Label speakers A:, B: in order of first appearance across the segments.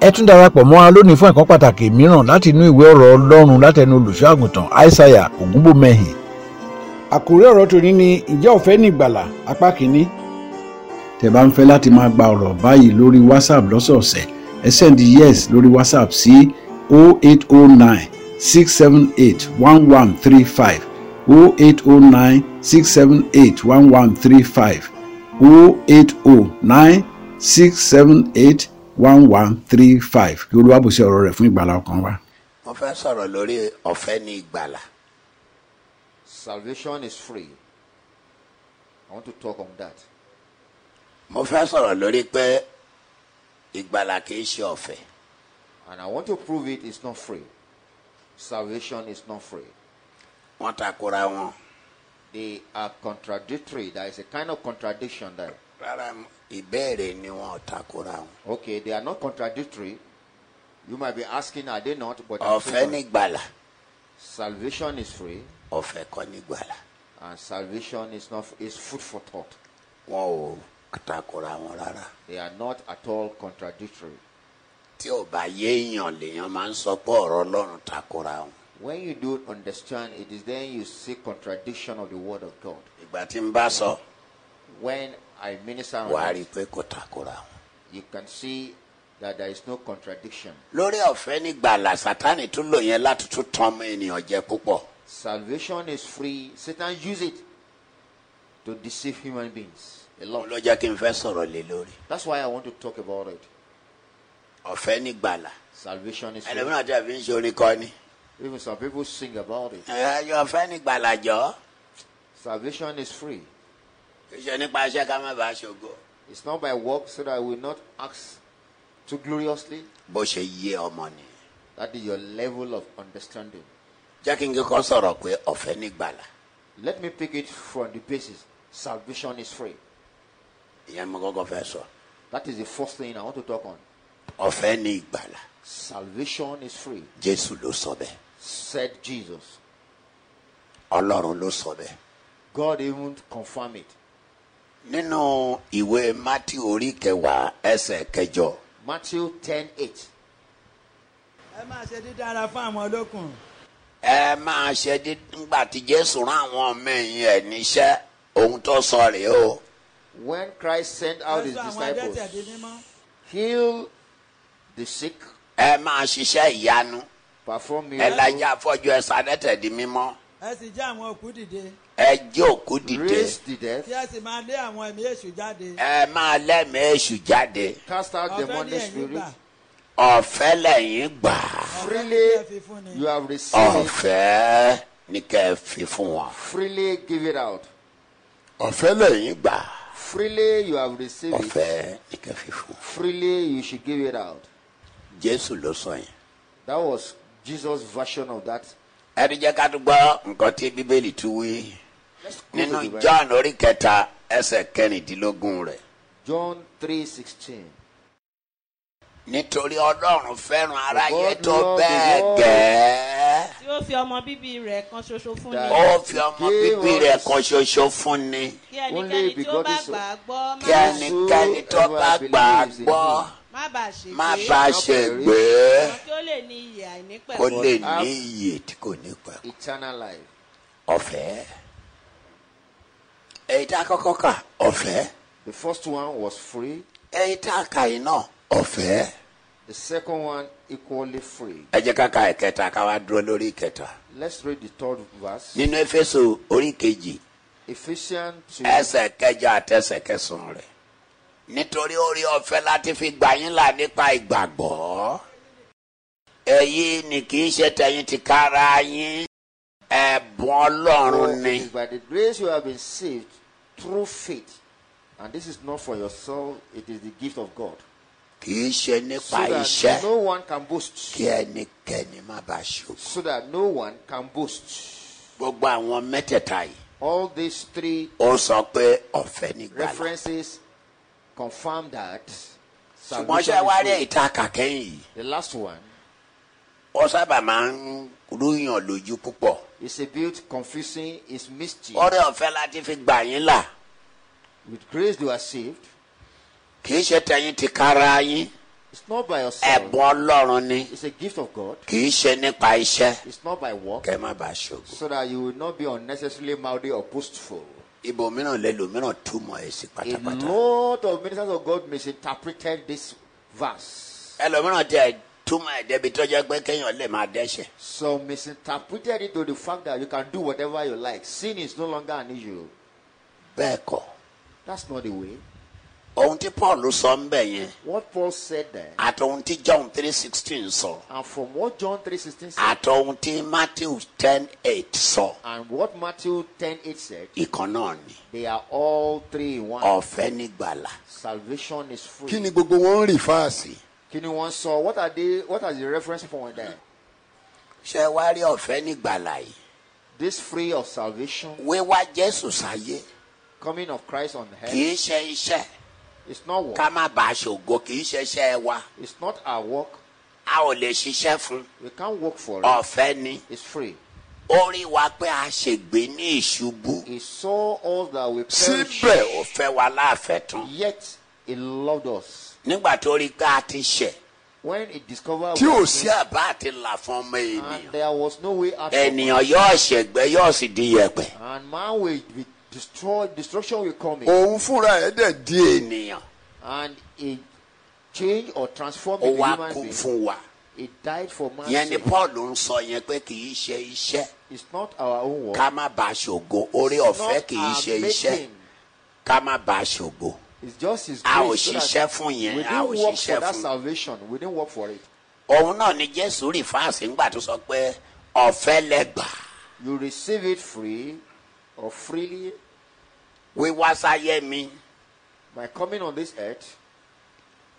A: ẹ tún darapọ̀ mọ́ wa lónìí fún ẹ̀kọ́ pàtàkì mìíràn láti inú ìwé ọ̀rọ̀ ọlọ́run látẹnu olùṣọ́àgùntàn aishaiya ògúnbòmẹ́hìn
B: àkórí ọ̀rọ̀ tòní ni ǹjẹ́ o fẹ́ ní ìgbàlà apá kìíní
C: tẹ́ bá ń fẹ́ láti máa gba ọ̀rọ̀ báyìí lórí whatsapp lọ́sọ̀ọ̀sẹ̀ ẹ send yes lórí whatsapp sí 0809 678 1135 0809 678 1135 0809 678 1135 kí olúwa bùsí ọ̀rọ̀ rẹ̀ fún ìgbàlá ọkàn wa.
D: mo fẹ́ sọ̀rọ̀ lórí ọ̀fẹ́ ní ìgbàlà
E: Salvation is free. I want to talk on that.
D: mo fẹ́ sọ̀rọ̀ lórí pé ìgbàlà kìí ṣe ọ̀fẹ́
E: And I want to prove it is not free. Salvation is not free.
D: wọ́n takora wọn
E: They are contradictory. There is a kind of contradiction there.
D: rárá ìbéèrè ni wọn ò takora wọn
E: Okay, they are not contradictory. You might be asking, are they not? But I'm
D: ọ̀fẹ́
E: saying
D: ní ìgbàlà
E: salvation is free,
D: ọ̀fẹ́ kọ́ ní ìgbàlà
E: and salvation is not is food for thought.
D: wọn ò takora wọn rárá
E: They are not at all contradictory.
D: tí ò bá yé èèyàn lèèyàn máa ń sọ pé ọ̀rọ̀ ọlọ́run takora wọn
E: When you don't understand, it is then you see contradiction of the word of God.
D: ìgbà tí ń bá sọ
E: When I minister, on
D: wàá
E: that,
D: rí i pé kò takora wọn.
E: you can see that there is no contradiction.
D: lórí ọ̀fẹ́ ní ìgbàlà sátánì tún lò yẹn láti tún tàn ọmọ ènìyàn jẹ púpọ̀
E: Salvation is free. Satan use it to deceive human beings a
D: òun
E: lot.
D: ló jẹ́ kí n fẹ́ sọ̀rọ̀ lé lórí
E: That's why I want to talk about it.
D: ọ̀fẹ́ ní ìgbàlà
E: Salvation is free.
D: ẹlòmíràn tí a fi ń ṣe orin kọ ni
E: Even some people sing about it.
D: ẹ̀yọ ọ̀fẹ́ ní ìgbàlà jọ
E: Salvation is free.
D: kì í ṣe nípa iṣẹ́ ká má bàa ṣògo
E: It's not by work, so that I will not ask too gloriously.
D: bó ṣe yé ọmọ ni
E: That is your level of understanding.
D: jẹ́ kí n kíkọ́ sọ̀rọ̀ pé ọ̀fẹ́ ní ìgbàlà
E: Let me pick it from the basis. Salvation is free.
D: ìyẹn mo kọ́kọ́ fẹ́ sọ
E: That is the first thing I want to talk on.
D: ọ̀fẹ́ ní ìgbàlà
E: Salvation is free,
D: jésù ló sọ bẹ́ẹ̀
E: said Jesus.
D: ọlọ́run ló sọ bẹ́ẹ̀
E: God even confirm it.
D: nínú ìwé mátí orí kẹwàá ẹsẹ̀ kẹjọ
E: Matthew 10 8.
F: ẹ máa ṣe dídára fún àwọn olókùn
D: ẹ máa ṣe dí nígbà tí jésù rán àwọn ọmọ ẹ̀yìn ẹ̀ níṣẹ́ ohun tó sọ rèé o
E: When Christ sent out his
F: lọ́sọ àwọn adẹ́tẹ̀ di
E: disciples,
F: mímọ́
E: heal the sick,
D: ẹ máa ṣiṣẹ́ ìyanu
E: perform
D: ẹ lajà
E: miracles,
D: afọ́jú ẹ sanẹ́tẹ̀ di mímọ́
F: ẹ sì jẹ́ àwọn òkú dìde
D: ẹ jẹ́ òkú dìde
E: raise the
F: tí
E: dead,
F: ẹ sì máa lé àwọn ẹ̀mí èṣù jáde
D: ẹ máa lẹ́mìí èṣù jáde
E: cast out
F: ọ̀fẹ́ ní
E: demonic
F: ẹ̀yìn gbà
E: spirits.
D: ọ̀fẹ́ lẹ́yìn gbà
F: ọ̀fẹ́ ní ẹ fi
E: Freely
F: fún ni
E: you have received,
D: ọ̀fẹ́ ni kẹ́ ẹ fi fún wọn
E: freely give it out.
D: ọ̀fẹ́ lẹ́yìn gbà
E: Freely you have received it,
D: ọ̀fẹ́ ni kẹ́ ẹ fi fún wọn
E: freely you should give it out.
D: jésù ló sọ yẹn
E: That was Jesus' version of that.
D: ẹ ti jẹ́ ká tó gbọ́ nǹkan tí bíbélì tún wí
E: Go to
D: nínú
E: the Bible.
D: john orí kẹta ẹsẹ̀ kẹrìndínlógún rẹ̀.
E: John 3 16.
D: nítorí ọlọ́run fẹ́ràn aráyé
E: God
D: tó
E: loved the
D: bẹ́ẹ̀
E: world.
D: gẹ́ẹ́
G: tí ó fi ọmọ bíbí rẹ̀ kan ṣoṣo fún
E: That-
G: ni
D: ó fi ọmọ bíbí rẹ̀ kan ṣoṣo fún ni
G: kí
E: only
G: ẹnikẹ́ni tí ó
E: begotten
G: bá
E: Son.
G: gbà á gbọ́
D: kí
G: má-
D: ẹnikẹ́ni tó bá gbà á gbọ́
G: má bàa ṣègbé
D: má bá a ṣe gbé e,
G: ṣùgbọ́n kí ó lè ní ìyè àìnípẹ̀kun.
D: kó lè ní iyì tí kò ní pẹ́
E: Eternal life.
D: ọ̀fẹ́ èyí tá a kọ́kọ́ kà ọ̀fẹ́
E: The first one was free,
D: èyí tá a kà yìí náà ọ̀fẹ́
E: the second one equally free.
D: ẹ jẹ́ ká ka ìkẹta ká wá dúró lórí ìkẹta
E: Let's read the third verse.
D: nínú éfésù orí kejì
E: Ephesians 2.
D: ẹsẹ̀ kẹjọ àtẹsẹ̀ kẹsàn-án rẹ̀. nítorí orí ọ̀fẹ́ láti fi gbà yín là nípa ìgbàgbọ́. èyí ni kì í ṣe tẹ̀yìn ti kára yín. ẹ̀bùn
E: For
D: ọlọ́run
E: it
D: ni.
E: is by the grace you have been saved through faith. And this is not for yourself, it is the gift of God.
D: kì í ṣe
E: So
D: nípa
E: that
D: iṣẹ́.
E: no one can boast.
D: kí ẹnikẹ́ni má bàa ṣòkò.
E: So that no one can boast.
D: gbogbo àwọn mẹ́tẹ̀ẹ̀ta yìí.
E: All these three
D: ó sọ pé ọ̀fẹ́ nígbàlá.
E: references confirm that.
D: ṣùgbọ́n
E: salvation
D: ṣe wá rí
E: is free.
D: ìta kàkẹ́yìn yìí.
E: The last one
D: ó sábà máa ń rúyàn lójú púpọ̀.
E: is a bit confusing, it's mystic.
D: orí ọ̀fẹ́ láti fi gbà yín là.
E: With grace you are saved.
D: kì í ṣe tẹ̀yìn ti kára yín.
E: It's not by yourself.
D: ẹ̀bùn ọlọ́run ni
E: It's a gift of God.
D: kì í ṣe nípa iṣẹ́
E: It's not by work.
D: kẹ́ má bàa ṣògo.
E: So that you will not be unnecessarily mouthy or boastful.
D: ibòmíràn lẹ́lòmíràn túmọ̀ ẹ̀ sí
E: A
D: pátápátá.
E: lot of ministers of God misinterpreted this verse.
D: ẹlòmíràn tẹ túmọ̀ ẹ̀ débi tó jẹ́ pé kéèyàn lè máa dẹ́ṣẹ̀.
E: Some misinterpreted it to the fact that you can do whatever you like. Sin is no longer an issue.
D: bẹ́ẹ̀ kọ́
E: That's not the way.
D: ohun tí paul sọ ń bẹ̀ yẹn
E: What Paul said there,
D: àti ohun tí john three sixteen sọ
E: and from what John 3.16 said,
D: àti ohun tí matthew ten eight sọ
E: and what Matthew 10.8 said,
D: ìkan náà ni
E: they are all three in one.
D: ọ̀fẹ́ nígbàlà.
E: Salvation is free.
D: kí ni gbogbo wọn ń rì fáàsì.
E: Kini one saw what are they what are the reference point there?
D: ṣé wá rí ọ̀fẹ́ nígbàlà yìí
E: This free of salvation,
D: wíwá jésù sáyé
E: coming of Christ on
D: kì í
E: earth,
D: ṣe iṣẹ́
E: it's not work.
D: ká má bàa ṣògo kì í ṣe iṣẹ́ wa
E: It's not our work.
D: a ò lè ṣiṣẹ́ fún
E: We can't work for it.
D: ọ̀fẹ́ ni.
E: It's free.
D: ó rí wa pé a ṣègbè ní ìṣubú
E: He saw all that we perish,
D: síbẹ̀ ó fẹ́ wa láàfẹ́ tán
E: yet he loved us.
D: nígbà tó rí pé a ti ṣẹ̀
E: When he discovered
D: tí ò sí
E: our sin,
D: àbá àti là fún ọmọ
E: and
D: ènìyàn
E: there was no way out, from it,
D: ènìyàn yóò ṣègbẹ́ yóò sì di yẹ̀pẹ̀
E: and man will be destroyed. Destruction will come in,
D: òun fúnra ẹ̀ dẹ̀ di ènìyàn
E: and he changed or transformed
D: ó
E: into
D: wá
E: human
D: kú
E: being.
D: fún wa
E: He died for man's
D: yẹn ni
E: sin.
D: paul ń sọ yẹn pé kì í ṣe iṣẹ́
E: It's not our own work.
D: ká má bàa ṣògo orí
E: It's
D: ọ̀fẹ́
E: not
D: kì í
E: our
D: ṣe iṣẹ́
E: making.
D: ká má bàa ṣògo
E: It's just his
D: A ò
E: grace. so that
D: ṣiṣẹ́ fún yẹn,
E: We
D: a
E: didn't
D: ò
E: work
D: ṣiṣẹ́
E: for that
D: fún.
E: salvation. We didn't work for it.
D: òun náà ni jésù rí fáàsì ńgbà tó sọ pé ọ̀fẹ́ lẹ́gbàá.
E: You receive it free or freely
D: wíwá sáyé mi
E: by coming on this earth,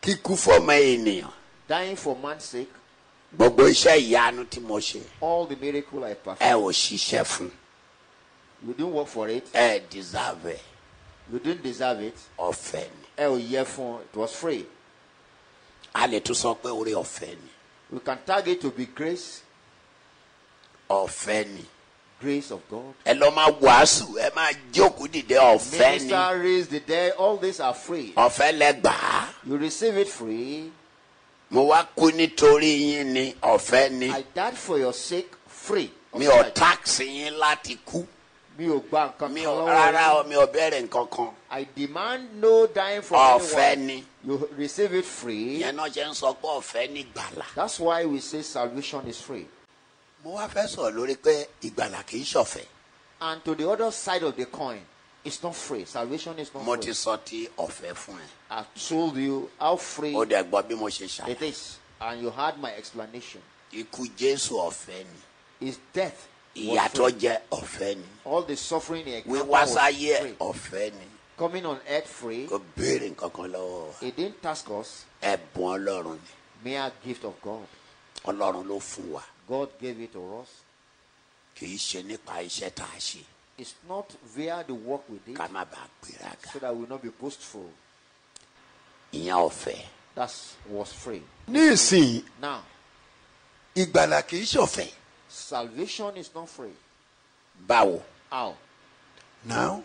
D: kíkú fọmọ ènìyàn
E: dying for man's sake,
D: gbogbo iṣẹ́ ìyanu tí mo ṣe
E: all the miracle I
D: ẹ
E: performed.
D: ò ṣiṣẹ́ fún
E: You didn't work for it.
D: ẹ deserve ẹ
E: You didn't deserve it.
D: ọ̀fẹ́ ni
E: Hell, yeah, for it was free.
D: a lè tún sọ pé orí ọ̀fẹ́ ni
E: We can tag it to be grace,
D: ọ̀fẹ́ ni
E: grace of God.
D: ẹ lọ máa wàásù ẹ máa jókòó dìde ọ̀fẹ́ ni
E: Minister raise the dead. All these are free.
D: ọ̀fẹ́ lẹ́gbàá
E: You receive it free.
D: mo wá kú nítorí yín ni ọ̀fẹ́ ni
E: I died for your sake, free.
D: mi ò táàkì yín láti kú
E: mi ò gba nǹkan
D: mi
E: kan
D: ò
E: lọ́wọ́
D: rárá
E: yín.
D: o mi ò bẹ̀rẹ̀ nǹkan kan
E: I demand no dying from
D: ọ̀fẹ́
E: anyone.
D: ni
E: You receive it free.
D: ìyẹn náà ṣe ń sọ pé ọ̀fẹ́ ni gbàlà.
E: That's why we say salvation is free.
D: mo wá fẹ́ sọ̀rọ̀ lórí pé ìgbàlà kì í ṣọ̀fẹ́.
E: And to the other side of the coin, it's not free. Salvation is not
D: mo ti
E: free.
D: sọ ti ọ̀fẹ́ fún ẹ.
E: I told you how free
D: ó dẹ̀ gbọ́ bí mo ṣe
E: it
D: ṣàlàyé.
E: is. And you had my explanation.
D: ikú jésù ọ̀fẹ́ ni.
E: His death. was
D: ìyàtọ̀
E: free.
D: jẹ́ ọ̀fẹ́ ni.
E: All the suffering he encountered
D: wíwá
E: was
D: sáyé ẹ̀
E: free.
D: ọ̀fẹ́ ni.
E: Coming on earth free.
D: kò béèrè nǹkan kan lọ́wọ́ wa.
E: He didn't task us.
D: ẹ̀bùn ọlọ́run ni.
E: Mere gift of God.
D: ọlọ́run ló fún wa.
E: God gave it to us.
D: kì í ṣe nípa iṣẹ́ tá a ṣe
E: It's not via the work we did
D: ká má bàa gbéraga.
E: so that we will not be boastful.
D: ìyẹn ọ̀fẹ́.
E: That was free.
D: ní ìsìn
E: Now,
D: ìgbàlà kì í ṣọ̀fẹ́.
E: salvation is not free.
D: báwo.
E: How?
D: náà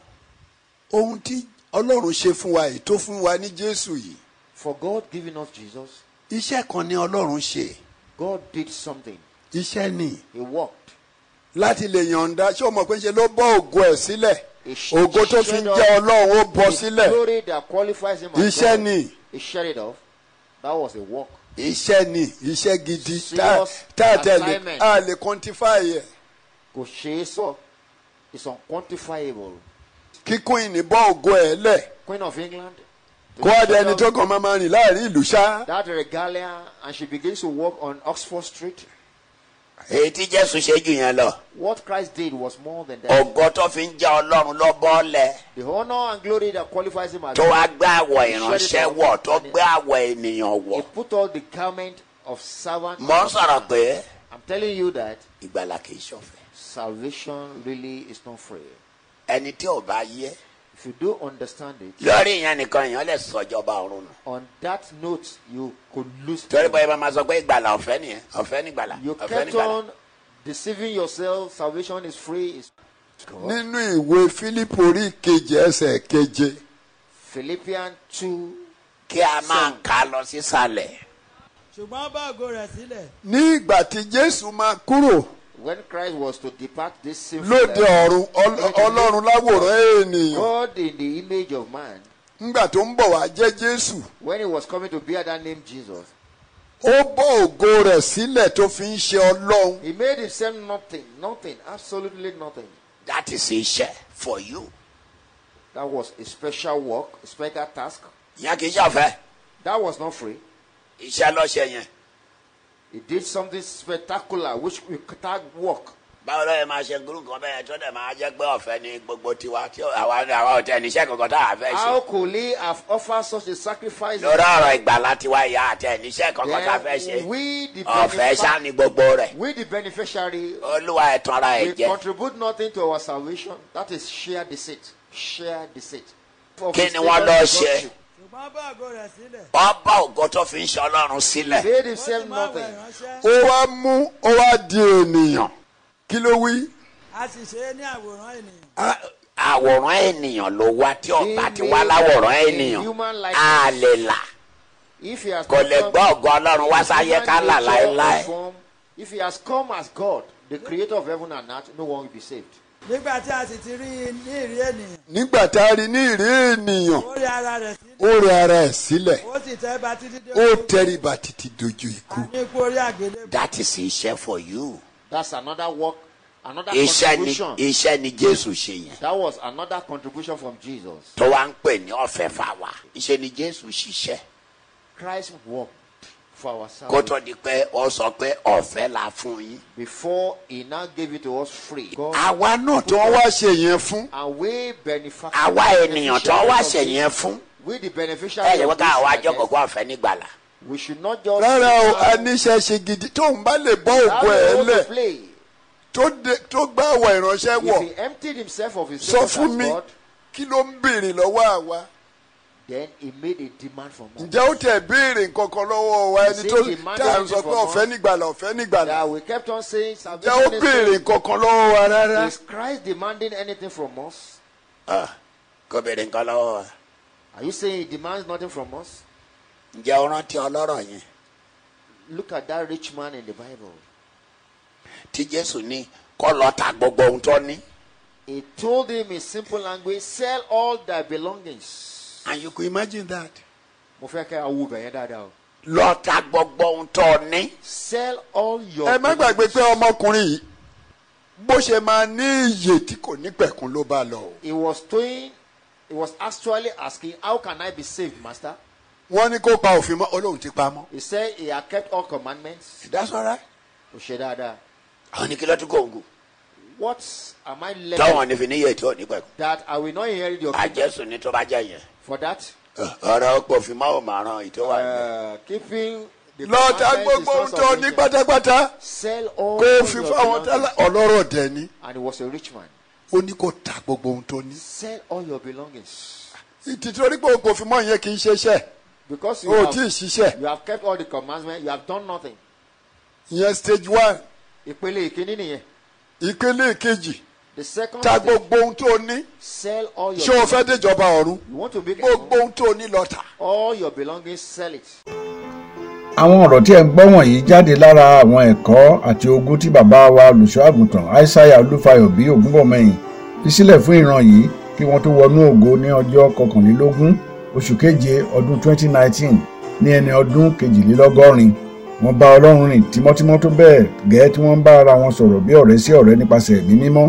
D: ohun tí ọlọ́run ṣe fún wa yìí tó fún wa ní jésù yìí
E: For God giving us Jesus,
D: iṣẹ́ kan ni ọlọ́run ṣe
E: God did something.
D: iṣẹ́ ni
E: He worked.
D: láti lè yọ̀ǹda ṣé o mọ̀ pé ṣe ló bọ́ ògo ẹ̀ sílẹ̀
E: He sh-
D: ògo tó fi ń jẹ́ ọlọ́run ó bọ́
E: The
D: sílẹ̀
E: glory that qualifies him as
D: Iṣẹ́
E: God,
D: ni.
E: He shed it off. That was a work.
D: iṣẹ́ ni iṣẹ́ gidi tá
E: Serious
D: tá a tẹ̀lé
E: assignment.
D: a lè quantify ẹ̀
E: Kò ṣe é sọ. It's unquantifiable.
D: kíkún ìnìbọ̀ ògo ẹ̀ lẹ̀
E: Queen of England. to
D: kó
E: the
D: adé ẹni tó
E: children,
D: kàn máa máa rìn láàrin ìlú ṣá.
E: That regalia, and she begins to walk on Oxford Street.
D: èyí tí jésù ṣe jù yẹn lọ
E: What Christ did was more than that.
D: ògo tó fi ń jẹ́ ọlọ́run ló bọ́ lẹ̀
E: The honor and glory that qualifies him as
D: tó wá
E: God.
D: gbé àwọ̀ ìránṣẹ́ wọ̀ tó gbé àwọ̀ ènìyàn
E: He
D: wọ̀.
E: put on the garment of servant.
D: mo ń sọ̀rọ̀ pé
E: I'm telling you that
D: ìgbàlà kì í ṣọ̀fẹ́.
E: salvation really is not free.
D: ẹni tí ò bá yé
E: If you do understand it,
D: lórí ìyẹn nìkan èèyàn lè sọjọba ọ̀run nù.
E: on that note, you could lose.
D: torí bóyá
E: heaven.
D: bá máa sọ pé ìgbàlà ọ̀fẹ́ nìyẹn ọ̀fẹ́ nígbàlà
E: You
D: ọ̀fẹ́
E: kept
D: nígbàlà.
E: on deceiving yourself. Salvation is free. It's God.
H: nínú ìwé fílípù orí keje ẹsẹ̀ keje
E: Philippians 2.
D: kí a máa kà á lọ sísàlẹ̀
F: ṣùgbọ́n ó bá ògo rẹ̀ sílẹ̀
D: ní ìgbà tí jésù máa kúrò
E: When Christ was to depart this sinful
D: lóde
E: earth,
D: ọ̀run Ọl- ọlọ́run láwòrán ènìyàn
E: God in the image of man,
D: ńgbà tó ń bọ̀ wá jẹ́ jésù
E: when he was coming to bear that name Jesus,
D: ó bọ́ ògo rẹ̀ sílẹ̀ tó fi ń ṣe ọlọ́run
E: he made himself nothing, nothing, absolutely nothing.
H: That is iṣẹ́ for you.
E: That was a special work, a special task.
H: Ìyẹn kì í ṣọ̀fẹ́.
E: That was not free.
H: Iṣẹ́ lọ́ṣẹ yẹn.
E: He did something spectacular, which we can't work.
H: báwo ló yẹ máa ṣe gúrú nǹkan bẹ́ẹ̀ tó dẹ̀ máa jẹ́ pé ọ̀fẹ́ ni gbogbo tiwa tí àwa àwa ò tẹ níṣẹ́ kankan tá a fẹ́
E: How
H: ṣe.
E: could he have offered such a sacrifice?
H: lórí ọ̀rọ̀ ìgbàlá tiwa ìyá àtẹ níṣẹ́ kankan tá a fẹ́ ṣe.
E: Then we the,
H: ọ̀fẹ́ ṣá
E: benefa-
H: ni gbogbo rẹ̀.
E: we the beneficiary,
H: olúwa ẹ̀tàn ara
E: we
H: ẹ̀ jẹ́.
E: contribute nothing to our salvation. That is sheer deceit. Sheer deceit. Of
H: Kí
E: his
H: ni wọ́n lọ
E: statement,
H: ṣe?
E: God
F: ṣùgbọ́n ó bá ògo rẹ̀ sílẹ̀
H: ọba ògo tó fi ń ṣe ọlọ́run sílẹ̀.
E: Made
F: ó sì
E: himself
F: mú àwẹ̀
E: nothing.
F: ránṣẹ́
D: ó wá mú ó wá di ènìyàn kí ló wí
F: a sì ṣe é ní àwòrán ènìyàn
H: Á- àwòrán ènìyàn ló wá tí ọba ti wá
E: Amen.
H: láwòrán
E: In
H: ènìyàn
E: human likeness.
H: á lè là
E: If he has
H: kò lè
E: come-
H: gbọ́ ògo ọlọ́run wá sáyé ká là
E: Human nature
H: láéláé.
E: or form, If he has come as God, the creator of heaven and earth, no one will be saved.
F: nígbà tí a sì ti rí i ní ìrí ènìyàn
D: nígbà tá a rí ní ìrí ènìyàn
F: ó rí ara rẹ̀ sílẹ̀
D: ó rẹ ara ẹ̀ sílẹ̀
F: ó sì tẹ́ ba títí dé
D: ó
F: ojú
D: tẹríba títí dojú ikú
F: àní ikú orí àgbélébùú
H: that is iṣẹ́ for you.
E: That's another work, another
H: iṣẹ́ ni
E: contribution.
H: iṣẹ́ ni jésù ṣe yẹn
E: That was another contribution from Jesus.
H: tó wá ń pè ní ọ̀fẹ́ fáwa iṣẹ́ ni jésù ṣiṣẹ́
E: Christ worked for our
H: kó tó
E: salvation
H: di pé ó sọ pé ọ̀fẹ́ la fún yín.
E: before he now gave it to us free. God,
H: àwa náà
D: tí
H: tó
D: wọ́n
H: wá
D: wá ṣe yẹn fún
E: and we benefactors.
H: àwa ènìyàn tó wá ṣe yẹn fún
E: We the beneficiaries.
H: ẹ yẹ
E: of
H: kó
E: this
H: káwa wá
E: madness.
H: jókòó kó ọ̀fẹ́ nígbàlà.
E: We should not just.
D: rárá o aníṣẹ́ ṣe gidi tó ń bá lè bọ́
E: That
D: ògo ẹ̀
E: role to
D: lẹ̀
E: play.
D: tó de- tó gbá àwọ̀ ìránṣẹ́ wọ̀
E: If he emptied himself of his
D: sọ
E: status
D: fún
E: as
D: mi
E: God,
D: kí ló ń béèrè lọ́wọ́ àwa
E: then he made a demand from us.
D: ǹjẹ́ ó tẹ̀ béèrè nǹkan kan lọ́wọ́ wa ẹni
E: Is it
D: tó tá
E: demanding
D: à ń sọ pé
E: anything from
D: ọ̀fẹ́
E: us?
D: nígbàlà ọ̀fẹ́ nígbàlà
E: that we kept on saying
D: ǹjẹ́
E: salvation
D: ó
E: is
D: béèrè
E: free.
D: nǹkan kan lọ́wọ́ wa rárá
E: Is Christ demanding anything from us?
H: Ah, kó béèrè nǹkan lọ́wọ́ wa
E: Are you saying he demands nothing from us?
H: ǹjẹ́ o rántí ọlọ́rọ̀ yẹn
E: Look at that rich man in the Bible.
H: tí jésù ní kó lọ ta gbogbo ohun tó ní
E: He told him in simple language, sell all thy belongings.
H: and you could imagine that
E: Mo fẹ́ kẹ́ awú bẹ̀yẹn dáadáa o.
H: lọ ta gbogbo ohun tó ní
E: Sell all your
D: ẹ má gbàgbé
E: belongings.
D: pé ọmọkùnrin yìí bó ṣe máa ní iyè tí kò ní pẹ̀kun ló bá lọ o.
E: He was doing, he was actually asking, how can I be saved, master?
D: wọ́n ní kó pa òfin mọ́ olóhùn ti pa mọ́.
E: He said he had kept all commandments.
D: that's all right.
E: Ó ṣe dáadáa.
H: àwọn ní kí ló tún kó ògùn
E: What am I
H: tọ́wọ̀n
E: left
H: ní fi níyẹ̀ tí ò ní pẹ̀kú
E: that I will not inherit your
H: a
E: kingdom?
H: jésù ní tó bá jẹ́ yẹn Ah,
E: For that,
H: ọ̀rọ̀ ọ̀pọ̀ òfin máa ò máa ran èyí tó wà ní.
E: Uh, keeping the
D: lọ́ọ̀tà
E: commandments
D: gbogbo ohun
E: is not
D: tó ní
E: salvation.
D: pátápátá
E: Sell all
D: kó
E: your
D: fi fáwọn tálá
E: belongings.
D: ọlọ́rọ̀ dẹ̀ ni
E: And he was a rich man.
D: ó ní kó ta gbogbo ohun tó ní.
E: Sell all your belongings.
D: ìtìtorí pé òkò òfin mọ́ yẹn kì í ṣeṣẹ́
E: Because you,
D: o ò tí ì
E: have,
D: ṣiṣẹ́
E: you have kept all the commandments, you have done nothing.
D: ìyẹn stage one
E: Ìpele ìkíní nìyẹn.
D: ìpele èkejì
E: The second
D: ta
E: stage,
D: gbogbo ohun tó ní
E: sell all your
D: ṣé o fẹ́
E: belongings.
D: déjọba ọ̀run
E: You want to make
D: gbogbo
E: it
D: ohun tó ní lọ́ọ̀tà.
E: all your belongings, sell it.
C: àwọn ọ̀rọ̀ tí ẹ̀ ń gbọ́ wọ̀nyí jáde lára àwọn ẹ̀kọ́ àti ogún tí bàbá wa olùṣọ́àgùntàn aishaiya olúfayọ bí ògúnbọ̀mọyìn fi sílẹ̀ fún ìran yìí kí wọ́n tó wọnú ògo ní ọjọ́ kọkànlélógún oṣù keje ọdún 2019 ní ẹni ọdún kejìlélọ́gọ́rin wọ́n bá ọlọ́run rìn tímọ́tímọ́ tó bẹ́ẹ̀ gẹ́ tí wọ́n ń bá ara wọn sọ̀rọ̀ bí ọ̀rẹ́ sí ọ̀rẹ́ nípasẹ̀ ẹ̀mí mímọ́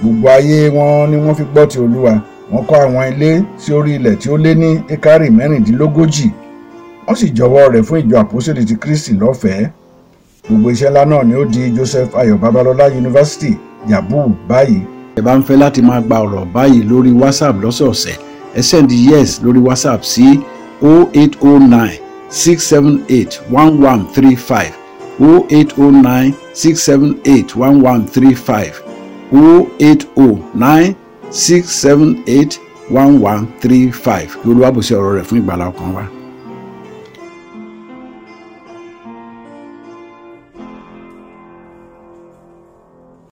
C: gbogbo ayé wọn ni wọ́n fi gbọ́ ti olúwa wọ́n kọ́ àwọn ilé sí orí ilẹ̀ tí ó lé ní ekari mẹ́rìndínlógójì wọ́n sì jọ̀wọ́ rẹ̀ fún ìjọ àpòsílẹ̀ ti kristi lọ́fẹ̀ẹ́ gbogbo iṣẹ́ ńlá náà ni ó di joseph ayọ̀ babalọ́lá yunifásitì yabu báyìí
I: ẹ bá ń fẹ́ láti máa gba ọ̀rọ̀ báyìí lórí whatsapp lọ́sọ̀ọ̀sẹ̀ ẹ send yes lórí whatsapp sí 0809-678-1135 0809-678-1135 0809-678-1135 Olúwa bùsí ọ̀rọ̀ rẹ̀ fún ìgbàlá ọkàn wa.